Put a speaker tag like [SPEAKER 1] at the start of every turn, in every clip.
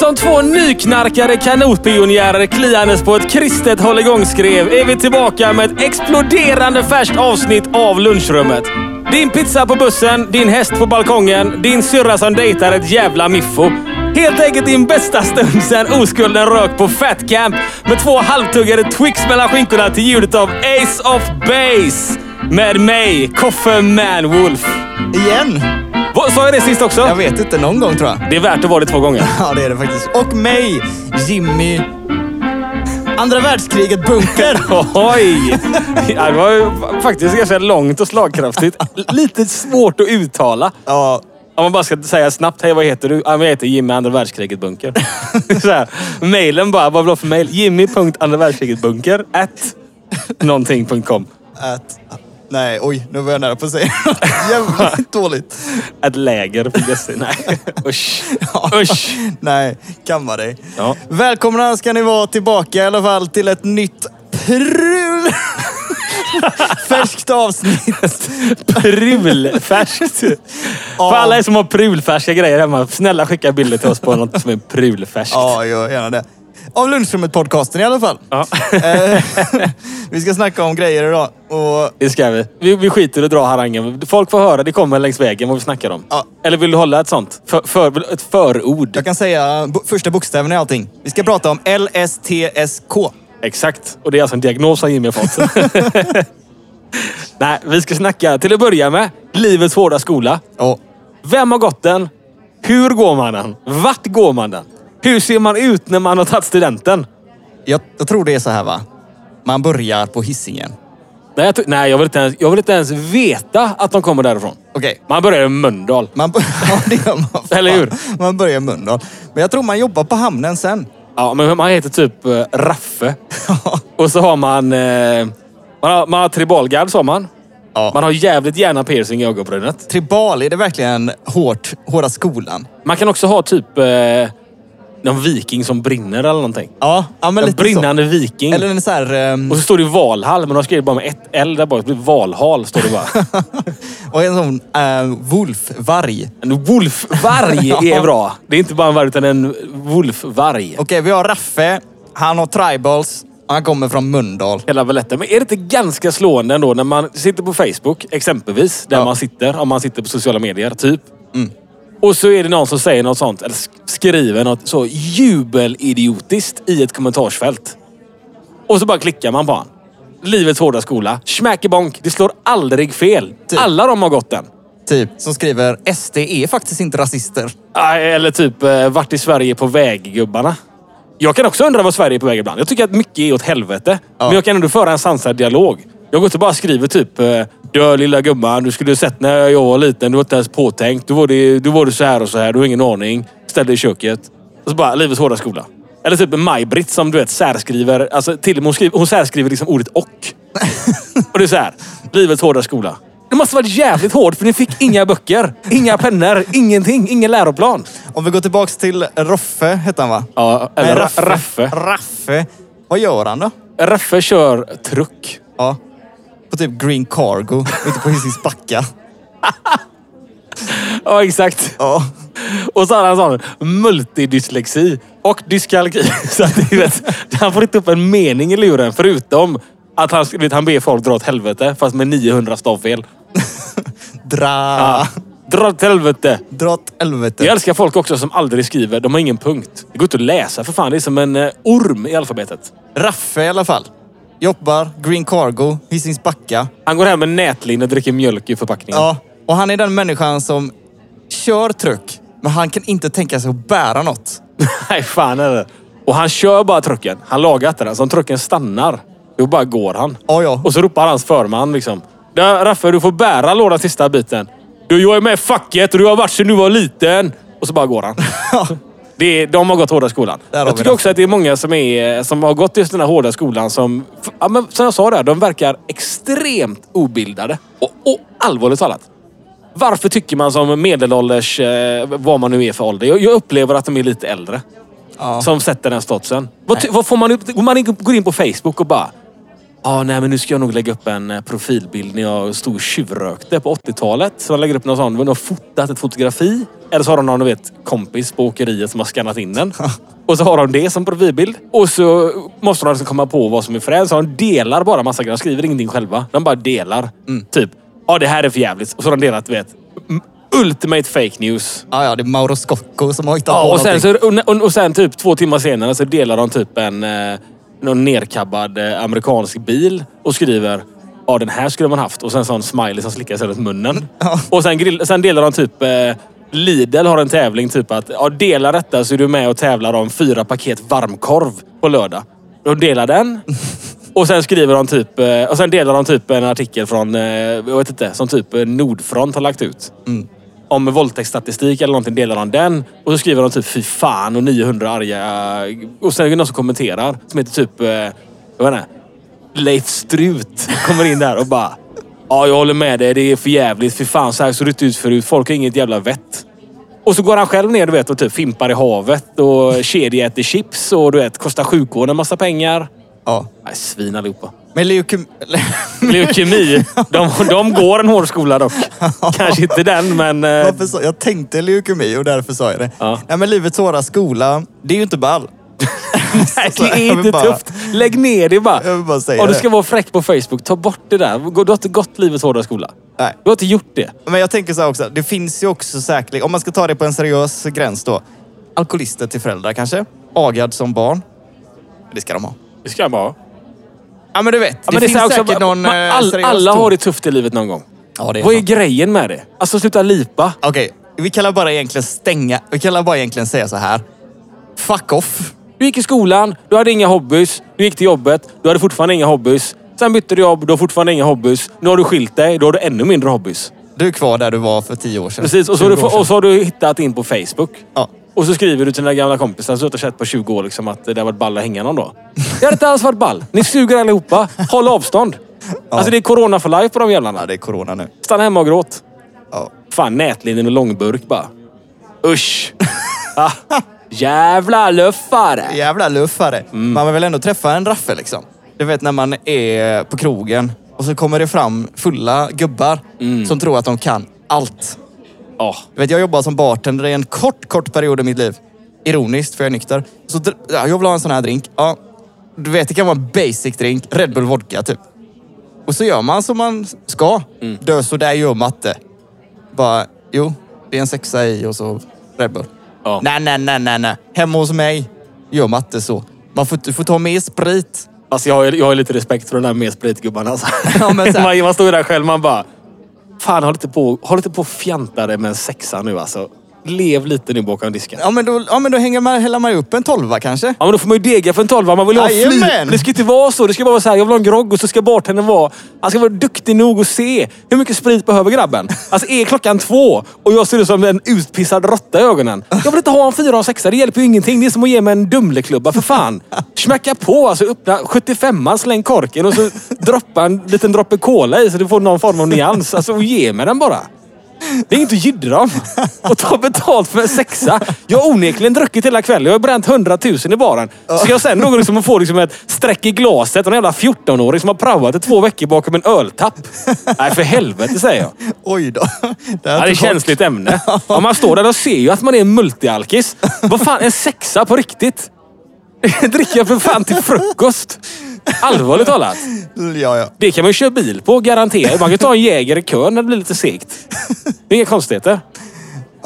[SPEAKER 1] Som två nyknarkade kanotpionjärer kliandes på ett kristet hålligångskrev är vi tillbaka med ett exploderande färskt avsnitt av lunchrummet. Din pizza på bussen, din häst på balkongen, din syrra som dejtar ett jävla miffo. Helt enkelt din bästa stund sedan oskulden rök på Fat Camp med två halvtuggade Twix mellan skinkorna till ljudet av Ace of Base. Med mig, Koffe Manwolf.
[SPEAKER 2] Igen?
[SPEAKER 1] Vad- Sa jag det sist också?
[SPEAKER 2] Jag vet inte, någon gång tror jag.
[SPEAKER 1] Det är värt att vara det två gånger.
[SPEAKER 2] Ja, det är det faktiskt. Och mig, Jimmy. Andra världskriget bunker.
[SPEAKER 1] Oj! Ja, det var ju faktiskt ganska långt och slagkraftigt. Lite svårt att uttala.
[SPEAKER 2] ja,
[SPEAKER 1] Om man bara ska säga snabbt, hej vad heter du? Ja, men jag heter Jimmy, andra världskriget bunker. Så här, mailen bara, vad vill du ha för mail? Jimmy.andra världskriget bunker at någonting.com.
[SPEAKER 2] att... Nej, oj, nu var jag nära på att säga något jävligt dåligt.
[SPEAKER 1] At läger.se. Nej, usch. Usch.
[SPEAKER 2] Nej, kamma dig.
[SPEAKER 1] Ja.
[SPEAKER 2] Välkomna ska ni vara tillbaka i alla fall till ett nytt prul... Färskt avsnitt.
[SPEAKER 1] Prulfärskt. För alla er som har prulfärska grejer hemma, snälla skicka bilder till oss på något som är prulfärskt.
[SPEAKER 2] Ja, gör gärna det. Av lunchrummet-podcasten i alla fall.
[SPEAKER 1] Ja.
[SPEAKER 2] Eh, vi ska snacka om grejer idag. Och
[SPEAKER 1] Det ska vi. vi. Vi skiter i att dra harangen. Folk får höra, det kommer längs vägen vad vi snackar om.
[SPEAKER 2] Ja.
[SPEAKER 1] Eller vill du hålla ett sånt? För, för, ett förord.
[SPEAKER 2] jag kan säga bo- första bokstäven i allting. Vi ska prata om LSTSK.
[SPEAKER 1] Exakt. Och det är alltså en diagnos som Jimmy har fått. Nej, vi ska snacka till att börja med livets hårda skola.
[SPEAKER 2] Ja.
[SPEAKER 1] Vem har gått den? Hur går man den? Vart går man den? Hur ser man ut när man har tagit studenten?
[SPEAKER 2] Jag, jag tror det är så här va. Man börjar på hissingen.
[SPEAKER 1] Nej, jag, tror- nej jag, vill inte ens, jag vill inte ens veta att de kommer därifrån.
[SPEAKER 2] Okej.
[SPEAKER 1] Man börjar i Mölndal.
[SPEAKER 2] Man, bör- ja, det gör man. Fan.
[SPEAKER 1] Eller hur?
[SPEAKER 2] Man börjar i Mölndal. Men jag tror man jobbar på hamnen sen.
[SPEAKER 1] Ja, men man heter typ eh, Raffe. Och så har man... Eh, man har, man har tribalgard, sa man.
[SPEAKER 2] Ja.
[SPEAKER 1] Man har jävligt gärna piercing i ögonbrynet.
[SPEAKER 2] Tribal, är det verkligen hårt, hårda skolan?
[SPEAKER 1] Man kan också ha typ... Eh, någon viking som brinner eller någonting.
[SPEAKER 2] Ja, ja men
[SPEAKER 1] En
[SPEAKER 2] lite så.
[SPEAKER 1] brinnande viking.
[SPEAKER 2] Eller en så här... ehm,
[SPEAKER 1] Och så står det Valhall, men de har skrivit bara med ett L där bak. Det blir Valhall, står det bara.
[SPEAKER 2] och en sån uh, wolfvarg. Okej,
[SPEAKER 1] En wolfvarg är bra. Det är inte bara en varg, utan en wolfvarg.
[SPEAKER 2] vi har Raffe. Han har tribals. Han kommer från Mölndal.
[SPEAKER 1] hela balletten. Men är det inte ganska slående ändå när man sitter på Facebook, exempelvis, där
[SPEAKER 2] Ja. Mm.
[SPEAKER 1] man sitter, om man sitter på sociala medier, typ. Och så är det någon som säger något sånt, eller sk- skriver något så jubelidiotiskt i ett kommentarsfält. Och så bara klickar man på han. Livets hårda skola. Schmäckebonk. Det slår aldrig fel.
[SPEAKER 2] Typ.
[SPEAKER 1] Alla de har gått den.
[SPEAKER 2] Typ. Som skriver SD är faktiskt inte rasister.
[SPEAKER 1] Ah, Eller typ, eh, vart är Sverige på väg-gubbarna? Jag kan också undra vad Sverige är på väg ibland. Jag tycker att mycket är åt helvete. Men jag kan ändå föra en sansad dialog. Jag går inte bara och skriver typ eh, Dö lilla gumman, du skulle ha sett när jag var liten. Du var inte ens påtänkt. Du var det, du var det så här och så här. Du har ingen aning. Ställ dig i köket. Och så bara, livets hårda skola. Eller typ Maj-Britt som du vet särskriver. Alltså till och med hon, skriver, hon särskriver liksom ordet och. Och det är så här. Livets hårda skola. Det måste varit jävligt hårt för ni fick inga böcker, inga pennor, ingenting, ingen läroplan.
[SPEAKER 2] Om vi går tillbaks till Roffe, hette han va?
[SPEAKER 1] Ja, eller
[SPEAKER 2] Nej,
[SPEAKER 1] Raffe. Raffe.
[SPEAKER 2] Raffe. Vad gör han då?
[SPEAKER 1] Raffe kör truck.
[SPEAKER 2] Ja. På typ Green Cargo, ute på Hisings backa.
[SPEAKER 1] Ja, exakt.
[SPEAKER 2] Ja.
[SPEAKER 1] Och så har han sån multidyslexi och dyskalki. Så att det är rätt, han får inte upp en mening i luren förutom att han, vet, han ber folk dra åt helvete fast med 900 stavfel.
[SPEAKER 2] Dra...
[SPEAKER 1] Dra åt helvete!
[SPEAKER 2] Dra åt helvete.
[SPEAKER 1] Jag älskar folk också som aldrig skriver. De har ingen punkt. Det går inte att läsa för fan. Det är som en eh, orm i alfabetet.
[SPEAKER 2] Raffe i alla fall. Jobbar, Green Cargo, Hisings backa.
[SPEAKER 1] Han går hem med nätlinne och dricker mjölk i förpackningen.
[SPEAKER 2] Ja. Och han är den människan som kör truck, men han kan inte tänka sig att bära något.
[SPEAKER 1] Nej, fan är det. Och han kör bara trucken. Han lagar inte den. Så om trucken stannar, då bara går han.
[SPEAKER 2] Ja, ja.
[SPEAKER 1] Och så ropar hans förman liksom. "Där, Raffe, du får bära lådan sista biten. Du, jag är med i facket och du har varit sedan du var liten. Och så bara går han.
[SPEAKER 2] Ja.
[SPEAKER 1] Det är, de har gått hårda skolan.
[SPEAKER 2] Där har vi
[SPEAKER 1] Jag tycker
[SPEAKER 2] det.
[SPEAKER 1] också att det är många som, är, som har gått just den här hårda skolan som... f- Ja, men som jag sa där, de verkar extremt obildade. Och, och allvarligt talat. Varför tycker man som medelålders, eh, vad man nu är för ålder. Jag, jag upplever att de är lite äldre.
[SPEAKER 2] Ja.
[SPEAKER 1] Som sätter den statusen. Vad, ty- vad får man upp? Går man in, går in på Facebook och bara... Ja, nej men nu ska jag nog lägga upp en eh, profilbild när jag stod och tjuvrökte på 80-talet. Så man lägger upp någon sån, någon har fotat ett fotografi. Eller så har de någon du vet, kompis på åkeriet som har skannat in den. Och så har de det som profilbild. Och så måste de alltså komma på vad som är fränt. Så de delar bara massa grejer. De skriver ingenting själva. De bara delar. Typ, ja det här är för jävligt. Och så har de delat, du vet, m- ultimate fake news.
[SPEAKER 2] Ja, ja, det är Mauro Scocco som har hittat
[SPEAKER 1] Ja,
[SPEAKER 2] på
[SPEAKER 1] och sen,
[SPEAKER 2] någonting.
[SPEAKER 1] så, och, och, och sen typ två timmar senare så delar de typ en eh, någon nerkabbad eh, amerikansk bil och skriver ja den här skulle man haft och sen sån smiley som slickar sig runt munnen.
[SPEAKER 2] Ja.
[SPEAKER 1] Och sen, grill, sen delar de typ eh, Lidl har en tävling typ att ja, dela detta så är du med och tävlar om fyra paket varmkorv på lördag. De delar den. Och sen skriver de typ... eh, Och sen delar de typ en artikel från, eh, jag vet inte, som typ eh, Nordfront har lagt ut
[SPEAKER 2] Mm.
[SPEAKER 1] om våldtäktsstatistik eller någonting, delar han den. Och så skriver de typ fy fan och 900 arga... Och sen är det någon som kommenterar som heter typ... eh, Jag vet inte. Leif Strut kommer in där och bara... Ja, jag håller med dig. Det är för jävligt. Fy fan, så här såg det inte ut förut. Folk har inget jävla vett. Och så går han själv ner du vet, och typ fimpar i havet och kedjeäter chips och du vet, kostar sjukvården en massa pengar.
[SPEAKER 2] Ja.
[SPEAKER 1] Nej, svin allihopa.
[SPEAKER 2] Men leukem...
[SPEAKER 1] Leukemi. De, de går en hård skola dock. Kanske inte den, men... eh,
[SPEAKER 2] Varför sa- jag tänkte leukemi och därför sa jag det.
[SPEAKER 1] Ja.
[SPEAKER 2] Nej, men livets hårda skola, det är ju inte ball.
[SPEAKER 1] Nej,
[SPEAKER 2] Så
[SPEAKER 1] det
[SPEAKER 2] jag
[SPEAKER 1] är
[SPEAKER 2] vill
[SPEAKER 1] inte
[SPEAKER 2] bara-
[SPEAKER 1] tufft. Lägg ner det bara.
[SPEAKER 2] Jag vill bara säga
[SPEAKER 1] Om du
[SPEAKER 2] det.
[SPEAKER 1] ska vara fräck på Facebook, ta bort det där. Du har inte gått livets hårda skola.
[SPEAKER 2] Nej.
[SPEAKER 1] Du har inte gjort det.
[SPEAKER 2] Men jag tänker så här också, det finns ju också säkert, om man ska ta det på en seriös gräns då. Alkoholister till föräldrar kanske? Agad som barn? Det ska de ha.
[SPEAKER 1] Det ska jag bara.
[SPEAKER 2] Ja men du vet, det,
[SPEAKER 1] men det är
[SPEAKER 2] finns
[SPEAKER 1] så här också,
[SPEAKER 2] säkert någon
[SPEAKER 1] man,
[SPEAKER 2] eh,
[SPEAKER 1] all,
[SPEAKER 2] seriös
[SPEAKER 1] Alla
[SPEAKER 2] ton.
[SPEAKER 1] har det tufft i livet någon gång.
[SPEAKER 2] Ja, det är
[SPEAKER 1] Vad är
[SPEAKER 2] sant.
[SPEAKER 1] grejen med det? Alltså sluta lipa.
[SPEAKER 2] Okej, vi kallar bara egentligen stänga, vi kallar bara egentligen säga så här. Fuck off.
[SPEAKER 1] Du gick i skolan, du hade inga hobbys. Du gick till jobbet, du hade fortfarande inga hobbys. Sen bytte du jobb, du har fortfarande inga hobbys. Nu har du skilt dig, då har du ännu mindre hobbys.
[SPEAKER 2] Du är kvar där du var för tio år sedan.
[SPEAKER 1] Precis, och så, har
[SPEAKER 2] 20 år
[SPEAKER 1] du,
[SPEAKER 2] sedan.
[SPEAKER 1] och så har du hittat in på Facebook.
[SPEAKER 2] Ja.
[SPEAKER 1] Och så skriver du till dina gamla kompisar som du inte har sett på 20 år liksom, att det har varit ball att hänga någon dag. Det har inte alls varit ball. Ni suger allihopa. Håll avstånd. Alltså det är corona for life på de jävlarna.
[SPEAKER 2] ja, det är corona nu.
[SPEAKER 1] Stanna hemma och gråt.
[SPEAKER 2] Ja.
[SPEAKER 1] Fan, nätlinjen och långburk bara. Usch! ah, jävla luffare!
[SPEAKER 2] Jävla luffare. Man vill väl ändå träffa en raffe liksom. Du vet när man är på krogen och så kommer det fram fulla gubbar som tror att de kan allt.
[SPEAKER 1] Ja.
[SPEAKER 2] Du vet, jag jobbade som bartender i en kort, kort period i mitt liv. Ironiskt, för jag är nykter. Så dr- ja, jag vill ha en sån här drink. Ja, du vet, det kan vara en basic drink. Red Bull Vodka, typ. Och så gör man som man ska. Dö, så där gör matte. Bara, jo, det är en sexa i och så Red Bull.
[SPEAKER 1] Ja.
[SPEAKER 2] Nej, nej, nej, nej, nej. Hemma hos mig gör matte så. Man får, du får ta med sprit.
[SPEAKER 1] Alltså jag har, jag har lite respekt för de där med spritgubbarna. Alltså.
[SPEAKER 2] Ja, men så här-
[SPEAKER 1] man, man står ju där själv man bara... Fan, håll inte på, håll inte på och fjanta dig med en sexa nu alltså. Lev lite nu bakom disken.
[SPEAKER 2] Ja, men då, ja, men då hänger man, häller man ju upp en tolva kanske.
[SPEAKER 1] Ja men då får man ju dega för en tolva. Man vill ju ha flyt.
[SPEAKER 2] Jajamän!
[SPEAKER 1] Det ska inte vara så. Det ska bara vara så här, jag vill ha en grogg och så ska bartendern vara... Han ska vara duktig nog att se. Hur mycket sprit behöver grabben? Alltså är klockan två och jag ser ut som en utpissad råtta i ögonen. Jag vill inte ha en fyra och en sexa. Det hjälper ju ingenting. Det är som att ge mig en Dumleklubba för fan. Smacka på alltså. Öppna 75an, släng korken och så droppa en liten droppe cola i så du får någon form av nyans. Alltså och ge mig den bara. Det är inget att jiddra om. Och ta betalt för en sexa. Jag har onekligen druckit hela kvällen. Jag har bränt 100 000 i baren. Ska jag sen någon som får liksom ett streck i glaset och en jävla 14-åring som har praoat i två veckor bakom en öltapp. Nej, för helvete säger jag.
[SPEAKER 2] Oj då. Det, här
[SPEAKER 1] Ja, det är
[SPEAKER 2] tog
[SPEAKER 1] ett
[SPEAKER 2] kort.
[SPEAKER 1] känsligt ämne. Om man står där och ser ju att man är en multialkis. Vad fan, en sexa på riktigt? Dricker jag för fan till frukost? Allvarligt talat.
[SPEAKER 2] Ja, ja.
[SPEAKER 1] Det kan man ju köra bil på, garanterat. Man kan ta en Jäger i kön när det blir lite segt. Det är inga konstigheter.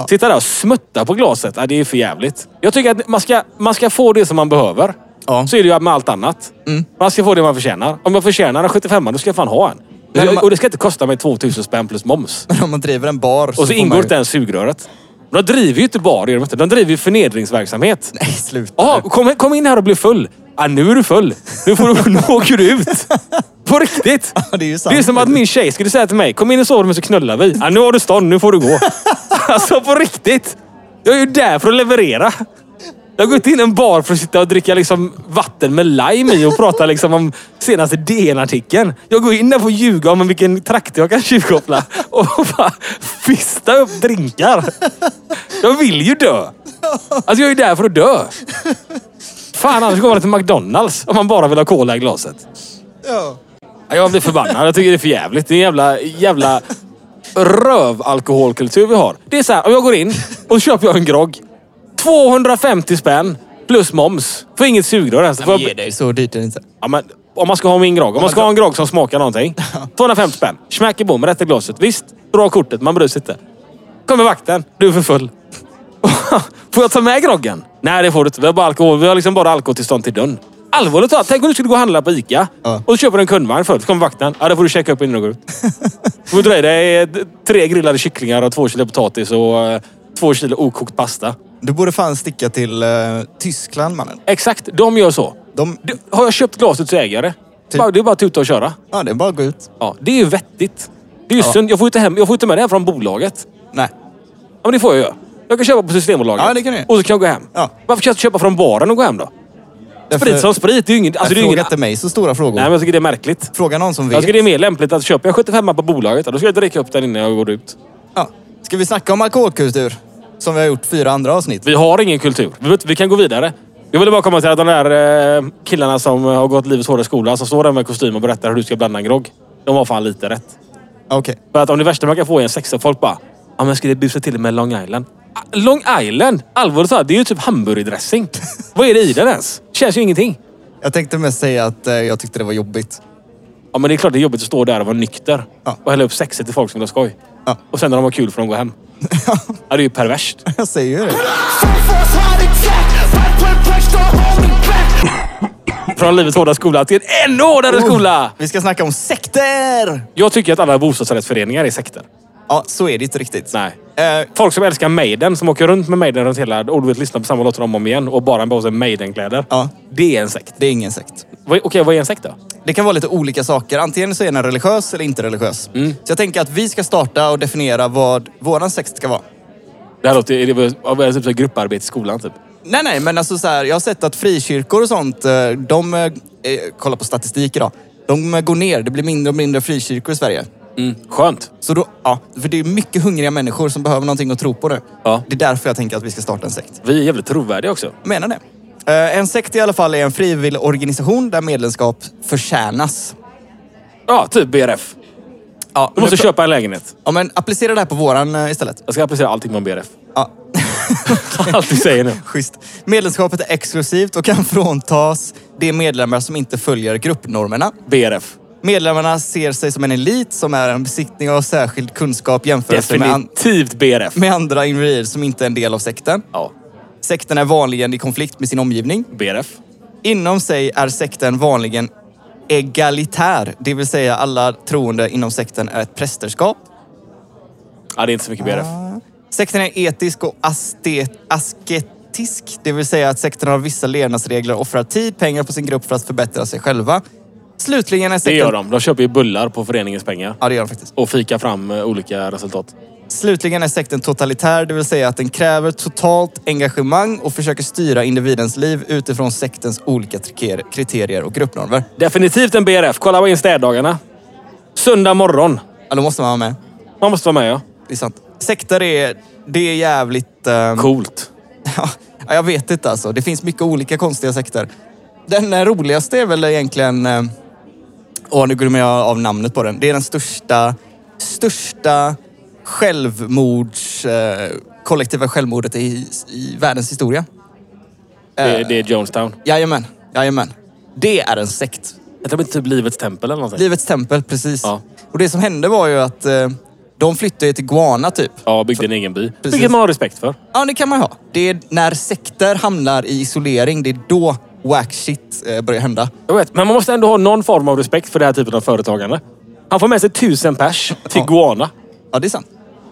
[SPEAKER 1] Sitta där och smutta på glaset. Ja, det är för jävligt. Jag tycker att man ska, man ska få det som man behöver.
[SPEAKER 2] Ja.
[SPEAKER 1] Så är det ju med allt annat. Man ska få det man förtjänar. Om jag förtjänar en 75 då ska jag fan ha en.
[SPEAKER 2] Men om man-
[SPEAKER 1] Och det ska inte kosta mig 2000 spänn plus moms.
[SPEAKER 2] Men om man driver en bar
[SPEAKER 1] Och så
[SPEAKER 2] får
[SPEAKER 1] ingår
[SPEAKER 2] man ju-
[SPEAKER 1] inte ens sugröret. De driver ju inte bara, det gör de inte. De driver ju förnedringsverksamhet.
[SPEAKER 2] Nej, sluta.
[SPEAKER 1] Jaha, kom, kom in här och bli full. Ah, nu är du full. Nu, får du, nu åker du ut. På riktigt.
[SPEAKER 2] Ja, det är ju sant.
[SPEAKER 1] Det är som att min tjej skulle säga till mig, kom in i sovrummet så knullar vi. Ah, nu har du stånd, nu får du gå. Alltså på riktigt. Jag är ju där för att leverera. Jag går inte in i en bar för att sitta och dricka liksom vatten med lime i och prata liksom om senaste DN-artikeln. Jag går in där för att ljuga om vilken trakt jag kan tjuvkoppla och bara fista upp drinkar. Jag vill ju dö. Alltså jag är ju där för att dö. Fan, annars går man till McDonalds om man bara vill ha cola i glaset.
[SPEAKER 2] Ja.
[SPEAKER 1] Jag blir förbannad. Jag tycker det är för jävligt. Det är en jävla, jävla rövalkoholkultur vi har. Det är så här, om jag går in och köper jag en grogg. 250 spänn plus moms. Får inget sugrör ens. Får
[SPEAKER 2] Men
[SPEAKER 1] jag-
[SPEAKER 2] Ge dig, så dyrt är det inte.
[SPEAKER 1] Ja, men om man ska ha min grogg. Om man ska ha en grogg som smakar någonting. 250 spänn. Smack i bom, rätt i glaset. Visst, dra kortet. Man bryr sig inte. Kommer vakten. Du är för full. får jag ta med groggen? Nej, det får du inte. Vi har bara alkohol. Vi har liksom bara alkoholtillstånd till dörren. Allvarligt talat. Tänk om du skulle gå och handla på Ica.
[SPEAKER 2] Ja.
[SPEAKER 1] Och så köper du en kundvagn full. Så kommer vakten. Ja, det får du checka upp innan du går ut. Du får dra i dig eh, tre grillade kycklingar och två kilo potatis och eh, två kilo okokt pasta.
[SPEAKER 2] Du borde fan sticka till eh, Tyskland mannen.
[SPEAKER 1] Exakt, de gör så.
[SPEAKER 2] De,
[SPEAKER 1] Du, har jag köpt glaset så äger jag det.
[SPEAKER 2] Typ.
[SPEAKER 1] Bara- Det är bara att tuta och köra.
[SPEAKER 2] ja, det är bara att gå ut.
[SPEAKER 1] Ja, det är ju vettigt. Det är ju synd. Jag får ju inte, hem, jag får inte med det här från bolaget.
[SPEAKER 2] Nej.
[SPEAKER 1] Ja, men det får jag göra. Jag kan köpa på Systembolaget.
[SPEAKER 2] Ja, det kan du.
[SPEAKER 1] Och så kan jag gå hem.
[SPEAKER 2] Ja.
[SPEAKER 1] Varför kan jag inte köpa från baren och gå hem då?
[SPEAKER 2] Därför-
[SPEAKER 1] Sprit som sprit, det är ju ingen... Alltså, det är
[SPEAKER 2] Nej,
[SPEAKER 1] ju
[SPEAKER 2] Fråga
[SPEAKER 1] ingen
[SPEAKER 2] inte
[SPEAKER 1] nej,
[SPEAKER 2] mig så stora frågor.
[SPEAKER 1] men jag tycker det är märkligt.
[SPEAKER 2] Fråga någon som
[SPEAKER 1] Jag
[SPEAKER 2] vet.
[SPEAKER 1] tycker det är mer lämpligt att köpa jag 75 på bolaget. ja, Då ska jag dricka upp den innan jag går ut.
[SPEAKER 2] Ja. Ska vi snacka om alkoholkultur? Som vi har gjort fyra andra avsnitt.
[SPEAKER 1] Vi har ingen kultur. Vi, vi kan gå vidare. Jag ville bara komma till att de där eh, killarna som har gått livets hårda skola, som står där med kostym och berättar hur du ska blanda en grogg. De har fan lite rätt.
[SPEAKER 2] Okej.
[SPEAKER 1] För att om det värsta man kan få är en sexa, folk bara ja men ska det busa till med Long Island? Ah, Long Island? Allvarligt talat, det är ju typ hamburgardressing. Vad är det i den ens? Känns ju ingenting.
[SPEAKER 2] Jag tänkte mest säga att eh, jag tyckte det var jobbigt.
[SPEAKER 1] Ja men det är klart det är jobbigt att stå där och vara nykter.
[SPEAKER 2] Ja.
[SPEAKER 1] Och hälla upp sexet till folk som vill ha skoj.
[SPEAKER 2] Ja.
[SPEAKER 1] Och sen när de har kul får de gå hem. ja, det är ju perverst.
[SPEAKER 2] Jag säger ju det.
[SPEAKER 3] Full force heart attack. Right blood pressure, don't hold me back.
[SPEAKER 1] Från livets hårda skola till en ännu hårdare
[SPEAKER 2] Oh.
[SPEAKER 1] skola!
[SPEAKER 2] Vi ska snacka om sekter!
[SPEAKER 1] Jag tycker att alla bostadsrättsföreningar är sekter.
[SPEAKER 2] Ja, så är det inte riktigt.
[SPEAKER 1] Nej.
[SPEAKER 2] Eh,
[SPEAKER 1] Folk som älskar Maiden, som åker runt med Maiden runt hela... Och du vet, lyssnar på samma låtar om och om igen och bara på sig Maiden-kläder.
[SPEAKER 2] Ja.
[SPEAKER 1] Det är en sekt.
[SPEAKER 2] det är ingen sekt.
[SPEAKER 1] Vad- Okej, vad är en sekt då?
[SPEAKER 2] Det kan vara lite olika saker. Antingen så är den religiös eller inte religiös. Så jag tänker att vi ska starta och definiera vad våran sekt ska vara.
[SPEAKER 1] Det här låter... Är det, är det typ så här grupparbete i skolan typ?
[SPEAKER 2] Nej, nej, men alltså så här, jag har sett att frikyrkor och sånt, eh, de, eh, kolla på statistik idag, de eh, går ner. Det blir mindre och mindre frikyrkor i Sverige.
[SPEAKER 1] Mm. Skönt.
[SPEAKER 2] Så då, ja, för det är mycket hungriga människor som behöver någonting att tro på nu.
[SPEAKER 1] Ja.
[SPEAKER 2] Det är därför jag tänker att vi ska starta en sekt.
[SPEAKER 1] Vi är jävligt trovärdiga också.
[SPEAKER 2] Jag menar det. Eh, En sekt i alla fall är en frivillig organisation där medlemskap förtjänas.
[SPEAKER 1] Ja, typ BRF.
[SPEAKER 2] Ja,
[SPEAKER 1] Du måste köpa en lägenhet.
[SPEAKER 2] ja, men applicera det här på våran eh, istället.
[SPEAKER 1] Jag ska applicera allting på en BRF.
[SPEAKER 2] Ja,
[SPEAKER 1] Allt du säger nu.
[SPEAKER 2] schysst. Medlemskapet är exklusivt och kan fråntas de medlemmar som inte följer gruppnormerna.
[SPEAKER 1] BRF.
[SPEAKER 2] Medlemmarna ser sig som en elit som är en besiktning av särskild kunskap jämfört med, an-
[SPEAKER 1] Definitivt BRF.
[SPEAKER 2] med andra individer som inte är en del av sekten.
[SPEAKER 1] Ja.
[SPEAKER 2] Sekten är vanligen i konflikt med sin omgivning.
[SPEAKER 1] BRF.
[SPEAKER 2] Inom sig är sekten vanligen egalitär, det vill säga alla troende inom sekten är ett prästerskap.
[SPEAKER 1] Ja, det är inte så mycket BRF.
[SPEAKER 2] Sekten är etisk och aste- asketisk, det vill säga att sekten har vissa levnadsregler och offrar tid, pengar på sin grupp för att förbättra sig själva. Slutligen är sekten...
[SPEAKER 1] Det gör de. De köper ju bullar på föreningens pengar.
[SPEAKER 2] Ja, det gör de faktiskt.
[SPEAKER 1] Och fikar fram eh, olika resultat.
[SPEAKER 2] Slutligen är sekten totalitär, det vill säga att den kräver totalt engagemang och försöker styra individens liv utifrån sektens olika triker- kriterier och gruppnormer.
[SPEAKER 1] Definitivt en BRF. Kolla vad in städdagarna. Söndag morgon.
[SPEAKER 2] Ja, då måste man vara med.
[SPEAKER 1] Man måste vara med ja.
[SPEAKER 2] Det är sant. Sekter är, det är jävligt... ehm,
[SPEAKER 1] Coolt.
[SPEAKER 2] Ja, jag vet inte alltså. Det finns mycket olika konstiga sekter. Den eh, roligaste är väl egentligen... eh, Åh, nu glömmer jag av namnet på den. Det är den största, största självmords... Eh, kollektiva självmordet i, i världens historia.
[SPEAKER 1] Det, det är Jonestown.
[SPEAKER 2] Jajamän, jajamän. Det är en sekt.
[SPEAKER 1] Det är typ Livets tempel eller någonting.
[SPEAKER 2] Livets tempel, precis.
[SPEAKER 1] Ja.
[SPEAKER 2] Och det som hände var ju att eh, de flyttade till Guana typ.
[SPEAKER 1] Ja, byggde en egen by.
[SPEAKER 2] Precis.
[SPEAKER 1] Vilket man har respekt för.
[SPEAKER 2] Ja, det kan man ju ha. Det är när sekter hamnar i isolering, det är då whack shit eh, börjar hända.
[SPEAKER 1] Jag vet, men man måste ändå ha någon form av respekt för den här typen av företagande. Han får med sig tusen pers till
[SPEAKER 2] Ja.
[SPEAKER 1] Guana,
[SPEAKER 2] Ja, det är sant.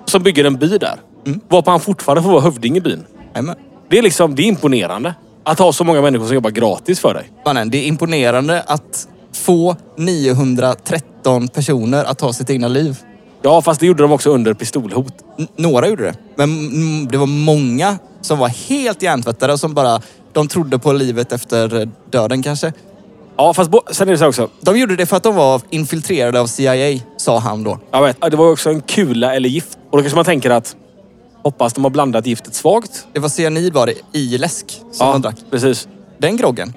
[SPEAKER 1] som bygger en by där.
[SPEAKER 2] Mm.
[SPEAKER 1] Varpå han fortfarande får vara hövding i byn.
[SPEAKER 2] Jajamän.
[SPEAKER 1] Det är liksom, det är imponerande. Att ha så många människor som jobbar gratis för dig.
[SPEAKER 2] Mannen, det är imponerande att få 913 personer att ta sitt egna liv.
[SPEAKER 1] Ja, fast det gjorde de också under pistolhot.
[SPEAKER 2] N- några gjorde det, men mm, det var många som var helt hjärntvättade och som bara... De trodde på livet efter eh, döden kanske.
[SPEAKER 1] Ja, fast bo- sen är det så här också.
[SPEAKER 2] De gjorde det för att de var infiltrerade av CIA, sa han då.
[SPEAKER 1] Jag vet, det var ju också en kula eller gift. Och då kanske man tänker att hoppas de har blandat giftet svagt.
[SPEAKER 2] Det var cyanid var det i läsk som de drack.
[SPEAKER 1] precis.
[SPEAKER 2] Den groggen.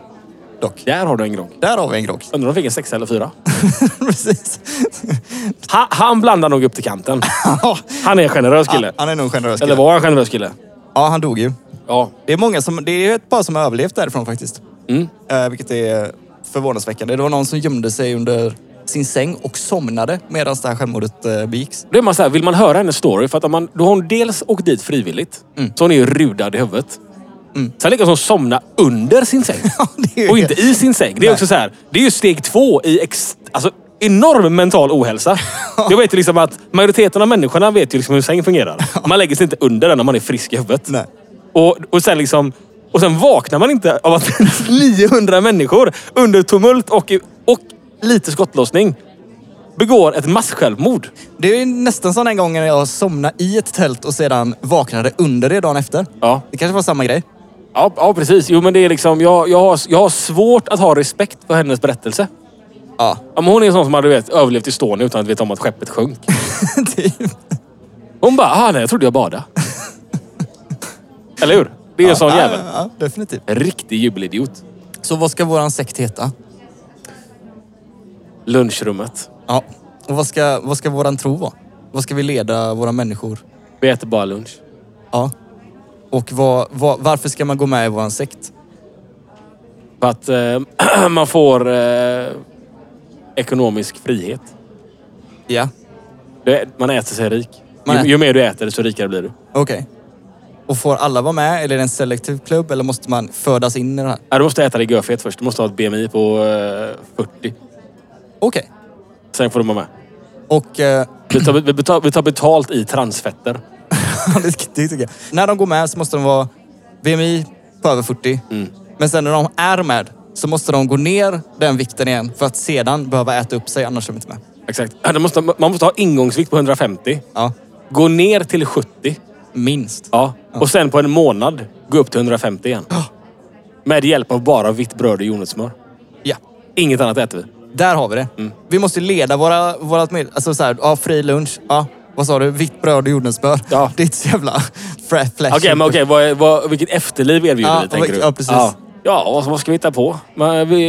[SPEAKER 2] De dock.
[SPEAKER 1] Där har du en grogg.
[SPEAKER 2] Där har vi en grogg.
[SPEAKER 1] Undrar om de fick en sexa eller fyra.
[SPEAKER 2] Precis.
[SPEAKER 1] Ha, han blandar nog upp till kanten. Han är en generös kille.
[SPEAKER 2] Han är nog en generös
[SPEAKER 1] Eller
[SPEAKER 2] kille.
[SPEAKER 1] var en generös kille.
[SPEAKER 2] Ja, han dog ju.
[SPEAKER 1] Ja.
[SPEAKER 2] Det är många som, det är ett par som har överlevt därifrån faktiskt.
[SPEAKER 1] Mm.
[SPEAKER 2] Eh, vilket är förvånansväckande. Det var någon som gömde sig under sin säng och somnade medan det här självmordet eh, begicks.
[SPEAKER 1] Då är man så här, vill man höra hennes story? För att om man, då har hon dels åkt dit frivilligt,
[SPEAKER 2] Mm.
[SPEAKER 1] så hon är ju rudad i huvudet. Sen lyckas hon somna under sin säng.
[SPEAKER 2] det är ju
[SPEAKER 1] och
[SPEAKER 2] det.
[SPEAKER 1] inte i sin säng. Det är
[SPEAKER 2] Nej.
[SPEAKER 1] också så här, det är ju steg två i ex, alltså, enorm mental ohälsa. Jag vet ju liksom att majoriteten av människorna vet ju liksom hur säng fungerar. Man lägger sig inte under den när man är frisk i huvudet.
[SPEAKER 2] Nej.
[SPEAKER 1] Och, och sen liksom... Och sen vaknar man inte av att 900 människor under tumult och, och lite skottlossning begår ett massjälvmord.
[SPEAKER 2] Det är ju nästan som den gången jag somnade i ett tält och sedan vaknade under det dagen efter.
[SPEAKER 1] Ja.
[SPEAKER 2] Det kanske var samma grej.
[SPEAKER 1] Ja, ja precis. Jo, men det är liksom... Jag, jag, har, jag har svårt att ha respekt för hennes berättelse.
[SPEAKER 2] Ja.
[SPEAKER 1] Ja, men hon är en sån som hade vet, överlevt Estonia utan att veta om att skeppet sjönk.
[SPEAKER 2] Det är ju-
[SPEAKER 1] Hon bara, ah, nej, jag trodde jag badade. Eller hur? Det är en sån
[SPEAKER 2] ja,
[SPEAKER 1] jävel.
[SPEAKER 2] ja, definitivt.
[SPEAKER 1] En riktig jubelidiot.
[SPEAKER 2] Så vad ska våran sekt heta?
[SPEAKER 1] Lunchrummet.
[SPEAKER 2] Ja. Och vad ska, vad ska våran tro vara? Vad ska vi leda våra människor?
[SPEAKER 1] Vi äter bara lunch.
[SPEAKER 2] Ja. Och vad, vad, varför ska man gå med i våran sekt?
[SPEAKER 1] För att eh, man får eh, ekonomisk frihet.
[SPEAKER 2] Ja.
[SPEAKER 1] Det, man äter sig rik.
[SPEAKER 2] Man äter-
[SPEAKER 1] Ju, ju mer du äter, så rikare blir du.
[SPEAKER 2] Okej. Och får alla vara med? Eller är det en selektiv klubb? Eller måste man födas in i den här?
[SPEAKER 1] Nej, du måste äta dig görfet först. Du måste ha ett BMI på eh, 40.
[SPEAKER 2] Okej.
[SPEAKER 1] Sen får du vara med.
[SPEAKER 2] Och... Eh,
[SPEAKER 1] Vi tar, vi, betal, vi tar betalt i transfetter.
[SPEAKER 2] det tycker jag. När de går med så måste de vara BMI på över 40. Men sen när de är med så måste de gå ner den vikten igen för att sedan behöva äta upp sig, annars är de inte med.
[SPEAKER 1] Exakt. Ja, det Måste, man måste ha ingångsvikt på 150.
[SPEAKER 2] Ja.
[SPEAKER 1] Gå ner till 70.
[SPEAKER 2] Minst.
[SPEAKER 1] Ja. Och sen på en månad gå upp till 150 igen. Med hjälp av bara vitt bröd och jordnötssmör.
[SPEAKER 2] Ja.
[SPEAKER 1] Inget annat äter vi.
[SPEAKER 2] Där har vi det.
[SPEAKER 1] Mm.
[SPEAKER 2] Vi måste leda våra... vårat med, alltså så här, ja, fri lunch. Ja, vad sa du? Vitt bröd och jordnötssmör.
[SPEAKER 1] Ja.
[SPEAKER 2] Det är inte så jävla fresh.
[SPEAKER 1] Okej, men okej. vad, är- vad, vilket efterliv erbjuder
[SPEAKER 2] Ja,
[SPEAKER 1] vi, tänker
[SPEAKER 2] vilket-
[SPEAKER 1] du?
[SPEAKER 2] ja, precis.
[SPEAKER 1] Ja, ja vad, vad ska vi hitta på? Man, vi,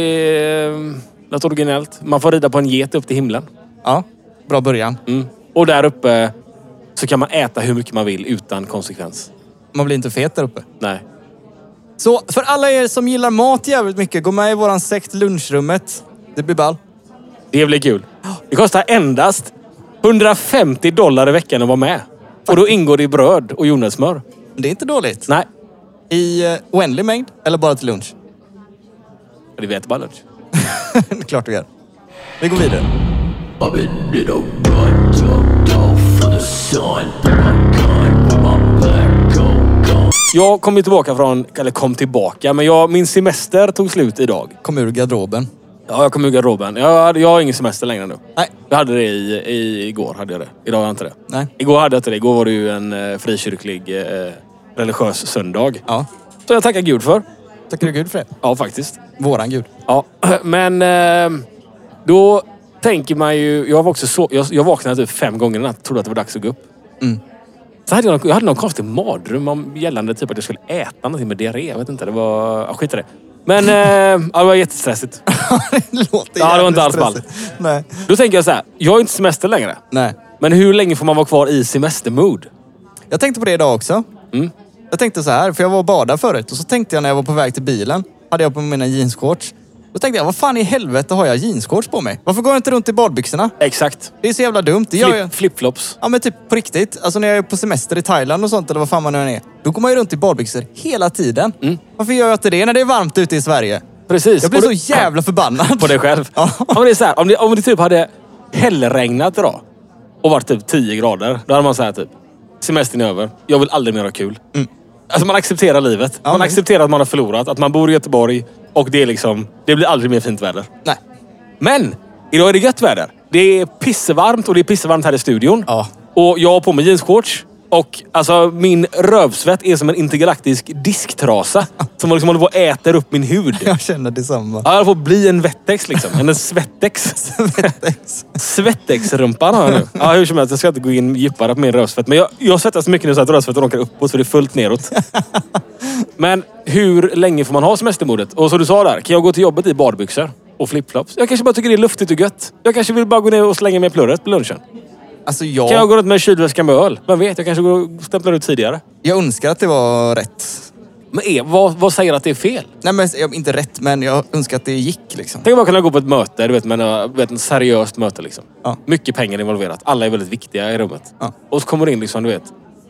[SPEAKER 1] eh, något originellt. Man får rida på en get upp till himlen.
[SPEAKER 2] Ja, bra början.
[SPEAKER 1] Mm. Och där uppe så kan man äta hur mycket man vill utan konsekvens.
[SPEAKER 2] Man blir inte fet där uppe.
[SPEAKER 1] Nej.
[SPEAKER 2] Så för alla er som gillar mat jävligt mycket, gå med i våran sekt lunchrummet. Det blir ball.
[SPEAKER 1] Det blir kul. Det kostar endast 150 dollar i veckan att vara med. Och då ingår det i bröd och jordnötssmör.
[SPEAKER 2] Det är inte dåligt.
[SPEAKER 1] Nej,
[SPEAKER 2] I eh, oändlig mängd eller bara till lunch?
[SPEAKER 1] det vet bara lunch.
[SPEAKER 2] Klart du gör. Vi går vidare.
[SPEAKER 4] I've been in a run, ducked off for the sun. Put my gun with my back, go, go.
[SPEAKER 1] Jag kom ju tillbaka från, eller kom tillbaka, men jag, min semester tog slut idag.
[SPEAKER 2] Kom ur garderoben.
[SPEAKER 1] Ja, jag kom ur garderoben. Jag, hade- jag har ingen semester längre nu.
[SPEAKER 2] Nej.
[SPEAKER 1] Jag hade det i, i, igår. Hade jag det. Idag har jag inte det.
[SPEAKER 2] Nej.
[SPEAKER 1] Igår hade jag inte det. Igår var det ju en eh, frikyrklig eh, religiös söndag.
[SPEAKER 2] Ja.
[SPEAKER 1] Så jag tackar Gud för.
[SPEAKER 2] Tackar du gud för det.
[SPEAKER 1] Ja, faktiskt.
[SPEAKER 2] Våran gud.
[SPEAKER 1] Ja, men eh, då tänker man ju... Jag, var också så, jag, jag vaknade typ fem gånger i natt trodde att det var dags att gå upp. Så hade jag, någon, jag hade någon konstig mardröm om gällande typ att jag skulle äta någonting med diarré. Jag vet inte. Det var... Ja, skit i det. Men eh, ja, det var jättestressigt.
[SPEAKER 2] det låter
[SPEAKER 1] Ja, det var
[SPEAKER 2] jävligt
[SPEAKER 1] inte alls ball.
[SPEAKER 2] stressigt. Nej.
[SPEAKER 1] Då tänker jag så här. Jag har inte semester längre.
[SPEAKER 2] Nej.
[SPEAKER 1] Men hur länge får man vara kvar i semestermood?
[SPEAKER 2] Jag tänkte på det idag också. Jag tänkte så här, för jag var och badade förut och så tänkte jag när jag var på väg till bilen, hade jag på mina jeansshorts. Då tänkte jag, vad fan i helvete har jag jeansshorts på mig? Varför går jag inte runt i badbyxorna?
[SPEAKER 1] Exakt.
[SPEAKER 2] Det är så jävla dumt. Det gör jag.
[SPEAKER 1] Flip, flipflops.
[SPEAKER 2] Ja men typ på riktigt. Alltså när jag är på semester i Thailand och sånt eller vad fan man nu än är. Då går man ju runt i badbyxor hela tiden. Varför gör jag inte det när det är varmt ute i Sverige?
[SPEAKER 1] Precis.
[SPEAKER 2] Jag blir
[SPEAKER 1] Och
[SPEAKER 2] så
[SPEAKER 1] då-
[SPEAKER 2] jävla förbannad.
[SPEAKER 1] på dig själv.
[SPEAKER 2] Ja.
[SPEAKER 1] Ja, men det är så här, om, det, om det typ hade hällregnat idag och varit typ 10 grader. Då hade man så här typ. Semestern är över. Jag vill aldrig mer ha kul. Alltså man accepterar livet. man
[SPEAKER 2] Mm. men-
[SPEAKER 1] accepterar att man har förlorat. Att man bor i Göteborg och det är liksom... Det blir aldrig mer fint väder.
[SPEAKER 2] Nej.
[SPEAKER 1] Men! Idag är det gött väder. Det är pissvarmt och det är pissvarmt här i studion.
[SPEAKER 2] Ja.
[SPEAKER 1] Och jag har på mig jeansshorts. Och alltså min rövsvett är som en intergalaktisk disktrasa. som liksom håller på och äter upp min hud.
[SPEAKER 2] Jag känner detsamma.
[SPEAKER 1] Ja, jag får bli en vettex liksom. En svettex. Svettexrumpan har jag nu. Ja, hur som helst, jag ska inte gå in djupare på min rövsvett. Men jag, jag svettas mycket nu så att rövsvetten åker uppåt för det är fullt neråt. Men hur länge får man ha semestermodet? Och som du sa där, kan jag gå till jobbet i badbyxor och flipflops? Jag kanske bara tycker det är luftigt och gött. Jag kanske vill bara gå ner och slänga mig i plurret på lunchen.
[SPEAKER 2] Alltså jag,
[SPEAKER 1] Kan jag
[SPEAKER 2] jag...
[SPEAKER 1] gå runt med en kylväska med öl? Vem vet, jag kanske går och stämplar ut tidigare.
[SPEAKER 2] önskar att det var rätt.
[SPEAKER 1] Men är, vad, vad säger att det är fel?
[SPEAKER 2] Nej, men jag- inte rätt, men jag önskar att det gick liksom.
[SPEAKER 1] Tänk om man kunde gå på ett möte, du vet, men, uh, vet ett seriöst möte liksom.
[SPEAKER 2] Ja.
[SPEAKER 1] Mycket pengar involverat. Alla är väldigt viktiga i rummet.
[SPEAKER 2] Ja.
[SPEAKER 1] Och så kommer du in liksom, du vet,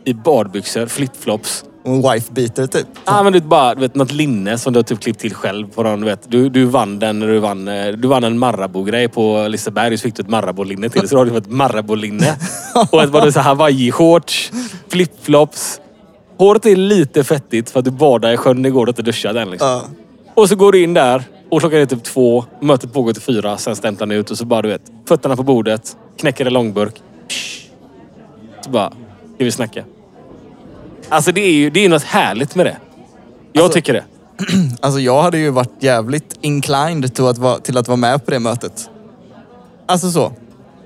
[SPEAKER 1] i badbyxor, flipflops.
[SPEAKER 2] Och en wife beater typ.
[SPEAKER 1] Ah, men du vet, bara, du vet, något linne som du har typ klippt till själv. På någon, du, vet. Du, du vann den när du vann, eh, du vann en Marabou-grej på Liseberg. Så fick du ett Marabou-linne till. Så då har du ett Marabou-linne. och ett bara så här Hawaii-shorts, flipflops. Håret är lite fettigt för att du badade i sjön igår och inte duschade än. Liksom.
[SPEAKER 2] Ja.
[SPEAKER 1] Och så går du in där och klockan är typ två. Mötet pågår till fyra. Sen stämplar ni ut och så bara du vet. Fötterna på bordet. Knäcker en långburk. Psh. Så bara, ska vi snacka? Alltså det är ju det är något härligt med det. Jag tycker det.
[SPEAKER 2] Alltså jag hade ju varit jävligt inclined till att, vara, till att vara med på det mötet. Alltså så.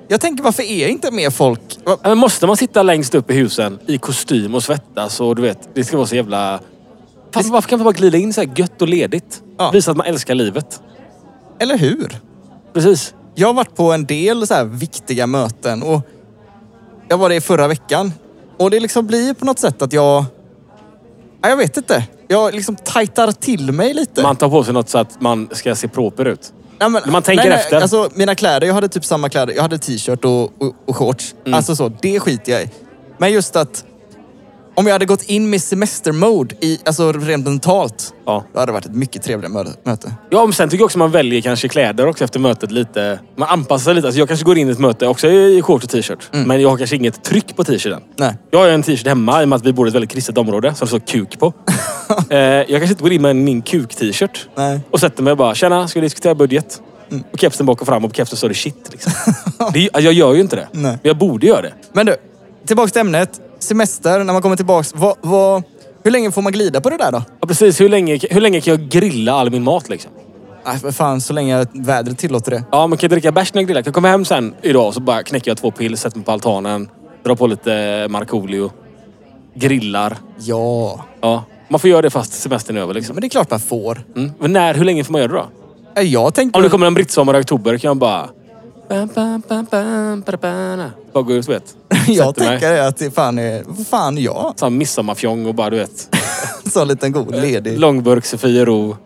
[SPEAKER 2] Jag tänker varför är inte mer folk... Va-
[SPEAKER 1] Ja, Men måste man sitta längst upp i husen i kostym och svettas och du vet, det ska vara så jävla... Fan, varför kan man bara glida in så här gött och ledigt?
[SPEAKER 2] Ja.
[SPEAKER 1] Visa att man älskar livet.
[SPEAKER 2] Eller hur?
[SPEAKER 1] Precis.
[SPEAKER 2] Jag har varit på en del så här viktiga möten och jag var det i förra veckan. Och det liksom blir på något sätt att jag... Ja, jag vet inte. Jag liksom tajtar till mig lite.
[SPEAKER 1] Man tar på sig något så att man ska se proper ut.
[SPEAKER 2] Nej, men,
[SPEAKER 1] Man tänker efter.
[SPEAKER 2] Alltså, mina kläder, jag hade typ samma kläder. Jag hade t-shirt och, och, och shorts.
[SPEAKER 1] Mm.
[SPEAKER 2] Alltså så, det skiter jag i. Men just att om jag hade gått in med semestermode, i, alltså rent mentalt,
[SPEAKER 1] Ja.
[SPEAKER 2] då hade det varit ett mycket trevligare mö- möte.
[SPEAKER 1] Ja, men sen tycker jag också man väljer kanske kläder också efter mötet lite. Man anpassar sig lite. Alltså jag kanske går in i ett möte också i shorts och t-shirt.
[SPEAKER 2] Mm.
[SPEAKER 1] Men jag har kanske inget tryck på t-shirten.
[SPEAKER 2] Nej.
[SPEAKER 1] Jag har ju en t-shirt hemma i och med att vi bor i ett väldigt kristet område som det står kuk på. eh, jag kanske inte går in med min kuk-t-shirt.
[SPEAKER 2] Nej. Mm.
[SPEAKER 1] Och sätter mig och bara, tjena, ska vi diskutera budget? Och kepsen bak och fram och på kepsen står det shit. Liksom. det, är- jag gör ju inte det.
[SPEAKER 2] Nej.
[SPEAKER 1] Men jag borde göra det.
[SPEAKER 2] Men du, tillbaka till ämnet. Semester, när man kommer tillbaka. Vad, vad, hur länge får man glida på det där då?
[SPEAKER 1] Ja, precis. Hur länge, hur länge kan jag grilla all min mat liksom?
[SPEAKER 2] Nej, för fan, så länge vädret tillåter det.
[SPEAKER 1] Ja, men kan jag dricka bärs när jag grillar? Kan jag komma hem sen idag och så bara knäcker jag två pill, sätter mig på altanen, drar på lite eh, Markoolio, grillar.
[SPEAKER 2] Ja,
[SPEAKER 1] Ja, man får göra det fast semestern är över liksom.
[SPEAKER 2] men det är klart man får.
[SPEAKER 1] Mm. Men när, hur länge får man göra det då?
[SPEAKER 2] Äh, Jag tänker...
[SPEAKER 1] Om det kommer en brittsommar i oktober kan jag bara... Bam, bam, bam, bam, ba, ba, na. Bara gå ut, du vet.
[SPEAKER 2] jag
[SPEAKER 1] sätter mig.
[SPEAKER 2] tänker att det fan är... Vad fan ja?
[SPEAKER 1] Sån midsommarfjong och bara, du vet.
[SPEAKER 2] Så en liten god ledig...
[SPEAKER 1] Långburk, Sofiero.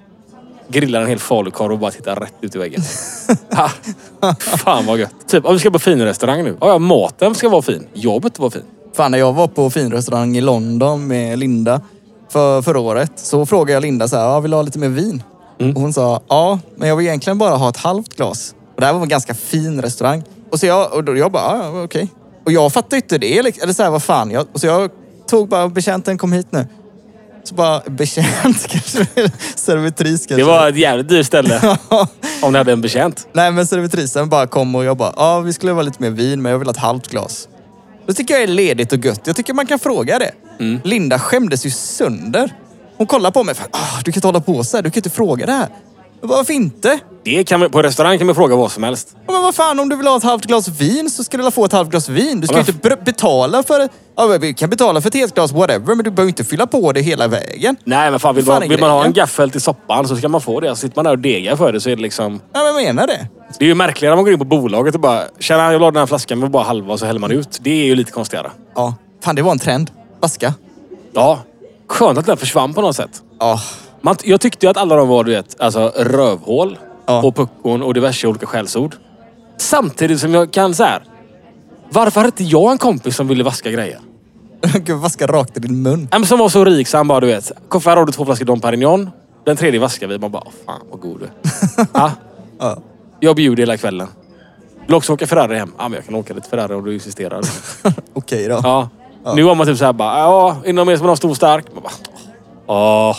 [SPEAKER 1] Grillar en hel falukorv och bara tittar rätt ut i väggen. Ha. Fan vad gött. Typ, om vi ska på fin restaurang nu. Ja, ja, maten ska vara fin. Jobbet var fin.
[SPEAKER 2] Fan, när jag var på finrestaurang i London med Linda för, förra året så frågade jag Linda så här, ja, vill du ha lite mer vin?
[SPEAKER 1] Mm.
[SPEAKER 2] Och hon sa, ja, men jag vill egentligen bara ha ett halvt glas. Och det här var en ganska fin restaurang. Och så jag, och då, jag bara, ja, ja, okej. Och jag fattade inte det, liksom. eller så här, vad fan. Jag, och så jag tog bara betjänten, kom hit nu. Så bara, betjänt kanske, servitris kanske.
[SPEAKER 1] Det var ett jävligt dyrt ställe. Om ni hade en betjänt.
[SPEAKER 2] Nej, men servitrisen bara kom och jag bara, ja, vi skulle ha lite mer vin, men jag vill ha ett halvt glas. Det tycker jag är ledigt och gött. Jag tycker man kan fråga det.
[SPEAKER 1] Mm.
[SPEAKER 2] Linda skämdes ju sönder. Hon kollade på mig. Fan, ah, du kan inte hålla på så här. Du kan inte fråga det här. Jag bara, varför inte?
[SPEAKER 1] Det kan vi, på restaurang kan man fråga vad som helst.
[SPEAKER 2] Ja, Men vad fan, om du vill ha ett halvt glas vin så ska du väl få ett halvt glas vin. Du ska
[SPEAKER 1] Ja,
[SPEAKER 2] ju
[SPEAKER 1] men-
[SPEAKER 2] inte br- betala för... Ja, men vi kan betala för ett helt glas, whatever, men du behöver inte fylla på det hela vägen.
[SPEAKER 1] Nej, men fan vill,
[SPEAKER 2] Fan
[SPEAKER 1] man,
[SPEAKER 2] är
[SPEAKER 1] vill man ha en
[SPEAKER 2] grejen?
[SPEAKER 1] gaffel till soppan så ska man få det. Sitter man där och degar för det så är det liksom...
[SPEAKER 2] Ja, men jag menar det.
[SPEAKER 1] Det är ju märkligare om man går in på bolaget och bara “Tjena, jag vill ha den här flaskan med bara halva” och så häller man ut. Det är ju lite konstigare.
[SPEAKER 2] Ja, fan det var en trend. Baska.
[SPEAKER 1] Ja. Skönt att den försvann på något sätt.
[SPEAKER 2] Ja,
[SPEAKER 1] Man, jag tyckte ju att alla de var, du vet, alltså rövhål
[SPEAKER 2] Ja.
[SPEAKER 1] och puckon och diverse olika skällsord. Samtidigt som jag kan så här. Varför hade inte jag en kompis som ville vaska grejer?
[SPEAKER 2] Gud, vaska rakt i din mun.
[SPEAKER 1] Ja, men Som var så rik så han bara, du vet. Koffe, här har du två flaskor Dom Perignon. Den tredje vaskar vi. Man bara, "Åh, fan vad god du är." ja.
[SPEAKER 2] Ja.
[SPEAKER 1] Jag bjuder hela kvällen. Vill också åka Ferrari hem? Ja, men jag kan åka lite Ferrari om du insisterar.
[SPEAKER 2] Okej då.
[SPEAKER 1] ja. Nu har man typ så här bara, ja, inom er som har en stor stark. Man bara, åh.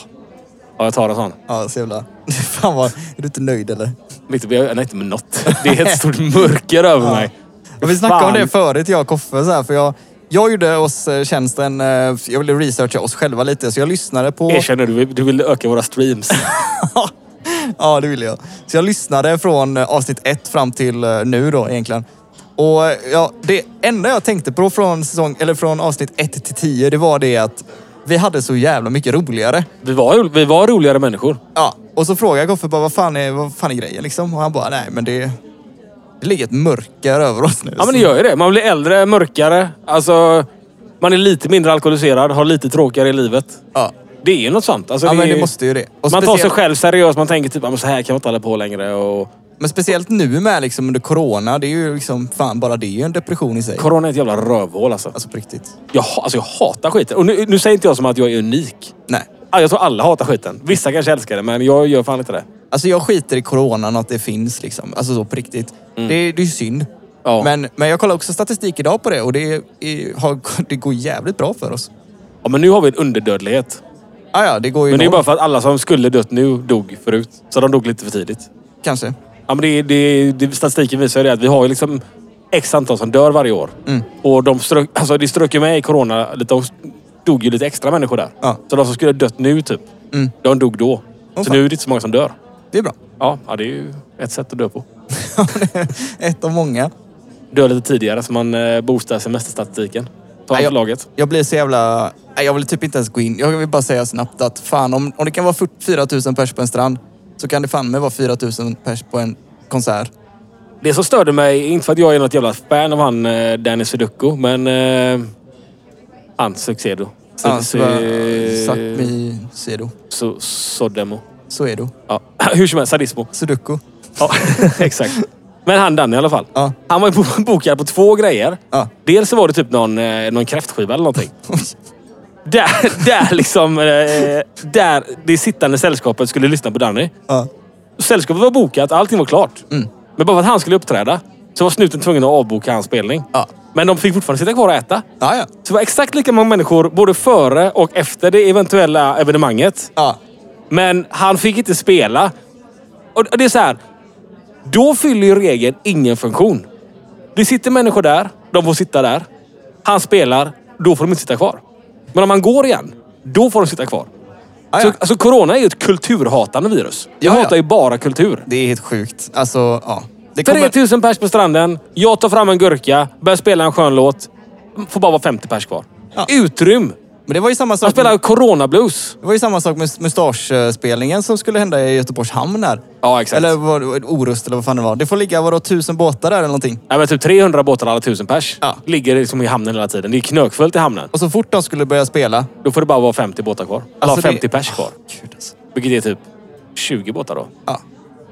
[SPEAKER 1] Ja, jag tar en sån.
[SPEAKER 2] Ja, så jävla... Fan vad... Är du inte nöjd eller?
[SPEAKER 1] Mitt uppe, jag är inte med något. Det är ett stort mörker över mig.
[SPEAKER 2] Vi snackade
[SPEAKER 1] Fan.
[SPEAKER 2] om det förut, jag och Koffe. Så här, för jag, jag gjorde oss eh, tjänsten... eh, Jag ville researcha oss själva lite, så jag lyssnade på...
[SPEAKER 1] Erkänner du, du vill öka våra streams.
[SPEAKER 2] ja, det ville jag. Så jag lyssnade från eh, avsnitt ett fram till eh, nu då egentligen. Och eh, ja, det enda jag tänkte på från, säsong, eller från avsnitt ett till tio, det var det att Vi hade så jävla mycket roligare.
[SPEAKER 1] Vi var, ju- vi var roligare människor.
[SPEAKER 2] Ja, och så frågade jag Goffe bara, vad fan är, vad fan är grejen liksom? Och han bara, nej men det, det ligger ett mörker över oss nu.
[SPEAKER 1] Ja, men det gör ju det. Man blir äldre, mörkare. Alltså, man är lite mindre alkoholiserad, har lite tråkigare i livet.
[SPEAKER 2] Ja.
[SPEAKER 1] Det är ju något sånt. Alltså,
[SPEAKER 2] Ja,
[SPEAKER 1] är
[SPEAKER 2] men
[SPEAKER 1] ju-
[SPEAKER 2] det måste ju det.
[SPEAKER 1] man
[SPEAKER 2] Och
[SPEAKER 1] tar sig
[SPEAKER 2] speciellt-
[SPEAKER 1] själv seriöst. Man tänker typ, "Ja, men så här kan man inte hålla på längre. Och...
[SPEAKER 2] Men speciellt nu med liksom under corona, det är ju liksom, fan bara det är ju en depression i sig.
[SPEAKER 1] Corona är ett jävla rövhål alltså.
[SPEAKER 2] Alltså på riktigt.
[SPEAKER 1] Jag, ha- alltså, jag hatar skiten. Och nu, nu säger inte jag som att jag är unik.
[SPEAKER 2] Nej.
[SPEAKER 1] Ja, Jag tror alla hatar skiten. Vissa kanske älskar det, men jag gör fan inte det.
[SPEAKER 2] Alltså jag skiter i coronan och att det finns liksom. Alltså så på riktigt. Det, det är ju synd.
[SPEAKER 1] Mm. Ja.
[SPEAKER 2] Men, men jag kollade också statistik idag på det och det, är, har, det går jävligt bra för oss.
[SPEAKER 1] Ja, men nu har vi en underdödlighet.
[SPEAKER 2] Ah, ja, det går ju
[SPEAKER 1] Men det är
[SPEAKER 2] noll,
[SPEAKER 1] bara för att alla som skulle dött nu dog förut. Så de dog lite för tidigt.
[SPEAKER 2] kanske.
[SPEAKER 1] Ja, men det, det, det, statistiken visar ju det att vi har ju liksom x antal som dör varje år.
[SPEAKER 2] Mm.
[SPEAKER 1] Och de strök, alltså det strök ju med i corona. Lite, de dog ju lite extra människor där.
[SPEAKER 2] Ja. Mm.
[SPEAKER 1] Så de som skulle ha dött nu typ, de dog då.
[SPEAKER 2] Åh,
[SPEAKER 1] så
[SPEAKER 2] fan.
[SPEAKER 1] nu är det inte så många som dör.
[SPEAKER 2] Det är bra.
[SPEAKER 1] Ja, ja, det är ju ett sätt att dö på.
[SPEAKER 2] Ett av många.
[SPEAKER 1] Dö lite tidigare så man eh, boostar semesterstatistiken. Ta
[SPEAKER 2] Nej, jag-
[SPEAKER 1] anslaget.
[SPEAKER 2] Jag blir så jävla... Nej, Jag vill typ inte ens gå in. Jag vill bara säga snabbt att fan, om, om det kan vara 4 000 pers på en strand så kan det fan med vara 4 000 pers på en konsert.
[SPEAKER 1] Det som störde mig, inte för att jag är något jävla fan av han eh, Danny Sudoku, men... Eh, han Suxedo. Su-
[SPEAKER 2] Ja, så bara,
[SPEAKER 1] su-
[SPEAKER 2] Suck me, Alltså, Sedo.
[SPEAKER 1] su- Sodemo.
[SPEAKER 2] Så är du.
[SPEAKER 1] Ja. Hur som helst, sadismo.
[SPEAKER 2] Sudoku.
[SPEAKER 1] Ja, exakt. Men han Danny i alla fall.
[SPEAKER 2] Ja.
[SPEAKER 1] Han var ju bo- bokad på två grejer.
[SPEAKER 2] Ja.
[SPEAKER 1] Dels så var det typ någon, eh, någon kräftskiva eller någonting. där, där liksom... Eh, där det sittande sällskapet skulle lyssna på Danny.
[SPEAKER 2] Ja.
[SPEAKER 1] Sällskapet var bokat, allting var klart.
[SPEAKER 2] Mm.
[SPEAKER 1] Men bara för att han skulle uppträda så var snuten tvungen att avboka hans spelning.
[SPEAKER 2] Ja.
[SPEAKER 1] Men de fick fortfarande sitta kvar och äta.
[SPEAKER 2] Ja, ja.
[SPEAKER 1] Så det var exakt lika många människor både före och efter det eventuella evenemanget.
[SPEAKER 2] ja.
[SPEAKER 1] Men han fick inte spela. Och och det är så här. Då fyller ju regeln ingen funktion. Det sitter människor där. De får sitta där. Han spelar. Då får de inte sitta kvar. Men om han går igen, då får de sitta kvar.
[SPEAKER 2] Ah, Ja,
[SPEAKER 1] Så,
[SPEAKER 2] ja.
[SPEAKER 1] alltså, corona är ju ett kulturhatande virus. Jag
[SPEAKER 2] Ja, ja.
[SPEAKER 1] hatar ju bara kultur.
[SPEAKER 2] Det är helt sjukt. Alltså, ja. Det
[SPEAKER 1] 3000 pers på stranden. Jag tar fram en gurka, börjar spela en skön låt. Får bara vara 50 pers kvar.
[SPEAKER 2] Ja.
[SPEAKER 1] Utrym!
[SPEAKER 2] Men det var ju samma
[SPEAKER 1] Han
[SPEAKER 2] sak,
[SPEAKER 1] spelar coronablues.
[SPEAKER 2] det var ju samma sak med mustaschspelningen som skulle hända i Göteborgs hamn där.
[SPEAKER 1] Ja, exakt.
[SPEAKER 2] Eller vad, Orust eller vad fan det var. Det får ligga vadå, tusen båtar där eller någonting.
[SPEAKER 1] Nej, men typ 300 båtar alla 1000 pers.
[SPEAKER 2] Ja.
[SPEAKER 1] Ligger liksom i hamnen hela tiden. Det är knökfullt i hamnen.
[SPEAKER 2] Och så fort de skulle börja spela.
[SPEAKER 1] Då får det bara vara 50 båtar kvar. Eller
[SPEAKER 2] Alltså, det-
[SPEAKER 1] 50 pers kvar.
[SPEAKER 2] Gud alltså.
[SPEAKER 1] Vilket är typ 20 båtar då.
[SPEAKER 2] Ja.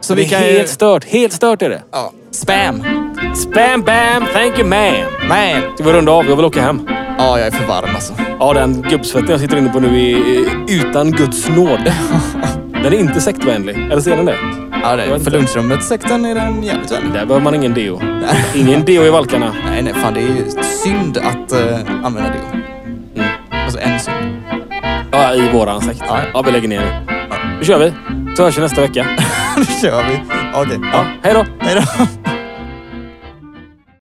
[SPEAKER 2] Så
[SPEAKER 1] det
[SPEAKER 2] vi
[SPEAKER 1] är
[SPEAKER 2] kan ju...
[SPEAKER 1] helt stört. Helt stört är det.
[SPEAKER 2] Ja. Spam!
[SPEAKER 1] Spam, bam, thank you man.
[SPEAKER 2] Man!
[SPEAKER 1] Ska vi runda av? Jag vill åka hem.
[SPEAKER 2] Ja, jag är för varm alltså.
[SPEAKER 1] Ja, den gubbsvetten jag sitter inne på nu är utan Guds nåde. Den är inte sektvänlig. Eller ser den det?
[SPEAKER 2] Ja, det
[SPEAKER 1] Jag vet
[SPEAKER 2] är för
[SPEAKER 1] inte.
[SPEAKER 2] lunchrummet sektorn är den jävligt vänlig.
[SPEAKER 1] Där behöver man ingen deo. Ingen deo i valkarna.
[SPEAKER 2] Nej, nej, fan det är ju synd att eh, använda deo.
[SPEAKER 1] Mm.
[SPEAKER 2] Alltså en synd.
[SPEAKER 1] Ja, i våran sekt.
[SPEAKER 2] Ja.
[SPEAKER 1] Ja, vi lägger ner nu. Nu kör vi. Så hörs vi nästa vecka.
[SPEAKER 2] Nu kör vi. Okej.
[SPEAKER 1] Ja, hej då.
[SPEAKER 2] Hej då.